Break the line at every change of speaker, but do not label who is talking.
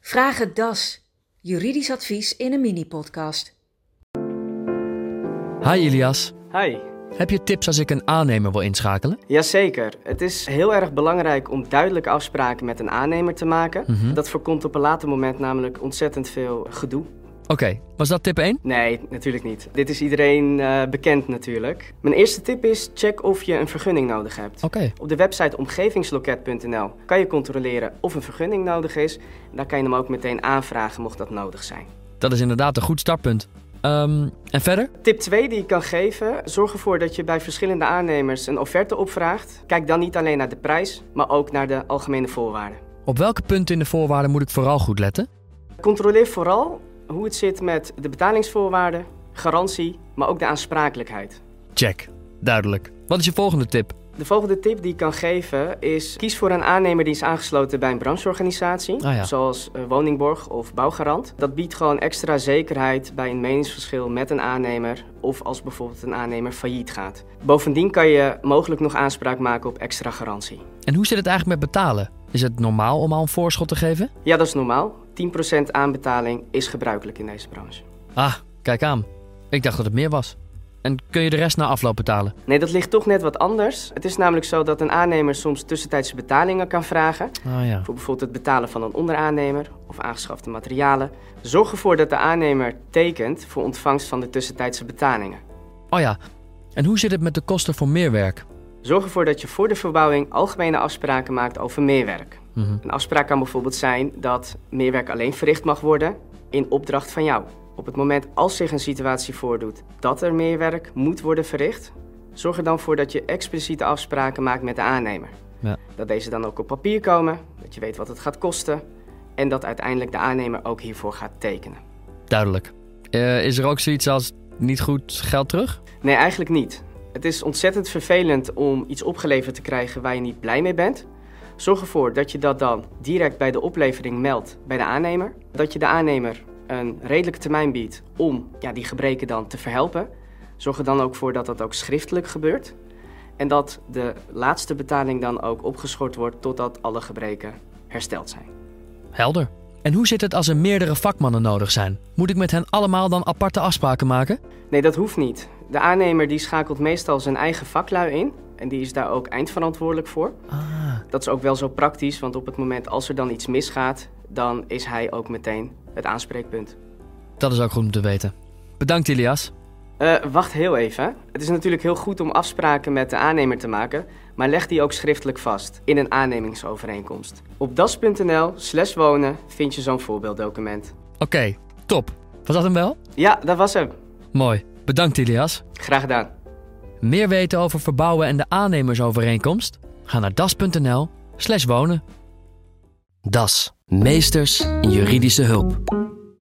Vraag het DAS. Juridisch advies in een mini-podcast.
Hi Ilias,
Hi.
heb je tips als ik een aannemer wil inschakelen?
Jazeker. Het is heel erg belangrijk om duidelijke afspraken met een aannemer te maken.
Mhm.
Dat voorkomt op een later moment namelijk ontzettend veel gedoe.
Oké, was dat tip 1?
Nee, natuurlijk niet. Dit is iedereen eh, bekend natuurlijk. Mijn eerste tip is check of je een vergunning nodig hebt.
Oké,
Op de website omgevingsloket.nl kan je controleren of een vergunning nodig is. Daar kan je hem ook meteen aanvragen mocht dat nodig zijn.
dat is inderdaad een goed startpunt. Ehm, en verder?
Tip 2 die ik kan geven, zorg ervoor dat je bij verschillende aannemers een offerte opvraagt. Kijk dan niet alleen naar de prijs, maar ook naar de algemene voorwaarden.
Op welke punten in de voorwaarden moet ik vooral goed letten?
Controleer vooral hoe het zit met de betalingsvoorwaarden, garantie, maar ook de aansprakelijkheid.
Check, duidelijk. Wat is je volgende tip?
De volgende tip die ik kan geven is: kies voor een aannemer die is aangesloten bij een brancheorganisatie,
Ah ja.
zoals eh, Woningborg of Bouwgarant. Dat biedt gewoon extra zekerheid bij een meningsverschil met een aannemer of als bijvoorbeeld een aannemer failliet gaat. Bovendien kan je mogelijk nog aanspraak maken op extra garantie.
En hoe zit het eigenlijk met betalen? Is het normaal om al een voorschot te geven?
Ja, dat is normaal. 10% aanbetaling is gebruikelijk in deze branche.
Ah, kijk aan. Ik dacht dat het meer was. En kun je de rest na afloop betalen?
Nee, dat ligt toch net wat anders. Het is namelijk zo dat een aannemer soms tussentijdse betalingen kan vragen.
Ah ja.
voor bijvoorbeeld het betalen van een onderaannemer of aangeschafte materialen. Zorg ervoor dat de aannemer tekent voor ontvangst van de tussentijdse betalingen.
Oh ja, en hoe zit het met de kosten voor meerwerk?
Zorg ervoor dat je voor de verbouwing algemene afspraken maakt over meerwerk.
Mhm.
Een afspraak kan bijvoorbeeld zijn dat meerwerk alleen verricht mag worden in opdracht van jou. Op het moment als zich een situatie voordoet dat er meerwerk moet worden verricht, zorg er dan voor dat je expliciete afspraken maakt met de aannemer.
Ja.
Dat deze dan ook op papier komen, dat je weet wat het gaat kosten en dat uiteindelijk de aannemer ook hiervoor gaat tekenen.
Duidelijk. Eh, is er ook zoiets als niet goed geld terug?
Nee, eigenlijk niet. Het is ontzettend vervelend om iets opgeleverd te krijgen waar je niet blij mee bent. Zorg ervoor dat je dat dan direct bij de oplevering meldt bij de aannemer. Dat je de aannemer een redelijke termijn biedt om ja, die gebreken dan te verhelpen. Zorg er dan ook voor dat dat ook schriftelijk gebeurt. En dat de laatste betaling dan ook opgeschort wordt totdat alle gebreken hersteld zijn.
Helder. En hoe zit het als er meerdere vakmannen nodig zijn? Moet ik met hen allemaal dan aparte afspraken maken?
Nee, dat hoeft niet. De aannemer die schakelt meestal zijn eigen vaklui in. En die is daar ook eindverantwoordelijk voor.
Ah.
Dat is ook wel zo praktisch, want op het moment als er dan iets misgaat, dan is hij ook meteen het aanspreekpunt.
Dat is ook goed om te weten. Bedankt, Ilias.
Eh, wacht heel even. Het is natuurlijk heel goed om afspraken met de aannemer te maken, maar leg die ook schriftelijk vast in een aannemingsovereenkomst. Op das.nl/slash wonen vind je zo'n voorbeelddocument.
Oké, top. Was dat hem wel?
Ja, dat was hem.
Mooi. Bedankt, Ilias.
Graag gedaan.
Meer weten over verbouwen en de aannemersovereenkomst? Ga naar das.nl/slash wonen. Das, meesters in juridische hulp.